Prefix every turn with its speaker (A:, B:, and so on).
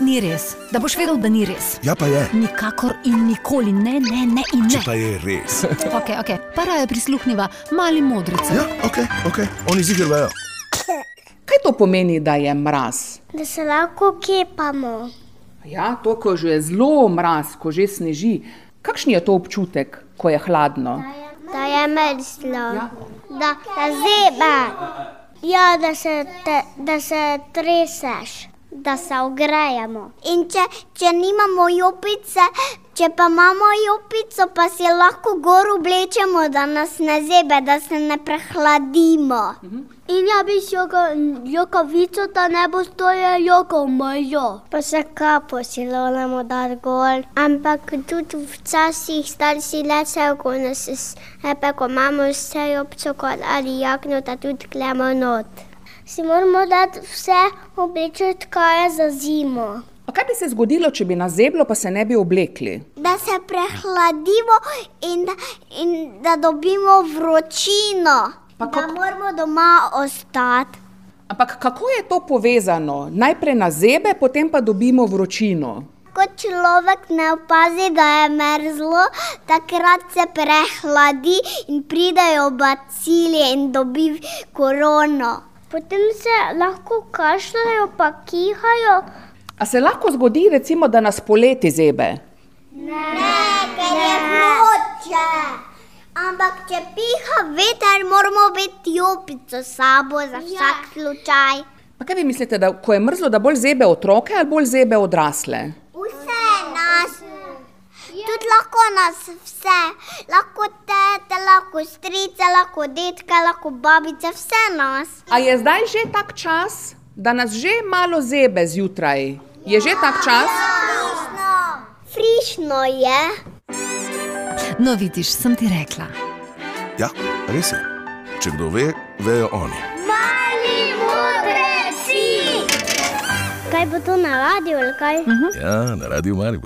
A: ni res, da boš vedel, da ni res.
B: Ja, pa je.
A: Nikakor in nikoli ne, ne, ne in
B: Če
A: ne.
B: pa je res.
A: Okay, okay. Para je prisluhnila, mali modrice.
B: Ja, ok, ok, oni zigrajo.
C: Kaj to pomeni, da je mraz?
D: da se lahko kepamo.
C: Ja, to, ko že je zelo mraz, ko že sneži. Kakšen je to občutek, ko je hladno?
D: Da je mrzlo, Ja. da, da zebe, ja, da, se te, da se treseš, da se ogrejemo. In če, če nimamo jopice, če pa imamo jopico, pa si lahko gor oblečemo, da nas ne zebe, da se ne prehladimo. In ja, bi si jokovico, da ne bo stoje joko mojo. Pa se kapo si lovimo, da gor. Ampak tudi včasih starši lečejo, ko nas repe, ko imamo vse jopco kot ali jakno, da tudi gremo not. Si moramo dati vse oblečiti, kar je za zimo.
C: A kaj bi se zgodilo, če bi nas zeblo, pa se ne bi oblekli?
D: Da se prehladimo in da, in da dobimo vročino,
C: Pa
D: da
C: kako-
D: moramo doma ostati.
C: Ampak kako je to povezano? Najprej nas zebe, potem pa dobimo vročino.
D: Ko človek ne opazi, da je mrzlo, takrat se prehladi in pridejo bacilije in dobi korono. Potem se lahko kašljajo, pa kihajo.
C: A se lahko zgodi, recimo, da nas poleti zebe?
D: Ker je vroče. Ampak, če piha veter, moramo biti jopico s sabo za vsak ja. slučaj.
C: Pa kaj vi mislite, da ko je mrzlo, da bolj zebe otroke ali bolj zebe odrasle?
D: Vse nas. Tudi lahko nas vse, lahko tete, lahko strice, lahko detke, lahko babice, vse nas.
C: A je zdaj že tak čas, da nas že malo zebe zjutraj? Je že tak čas?
D: Frišno. Frišno je.
A: No, vidiš, sem ti rekla.
B: Ja, res je. Če kdo ve, vejo oni.
D: Mali modri si. Kaj bo to na radiju ali kaj?
B: Ja, na radiju Maribor.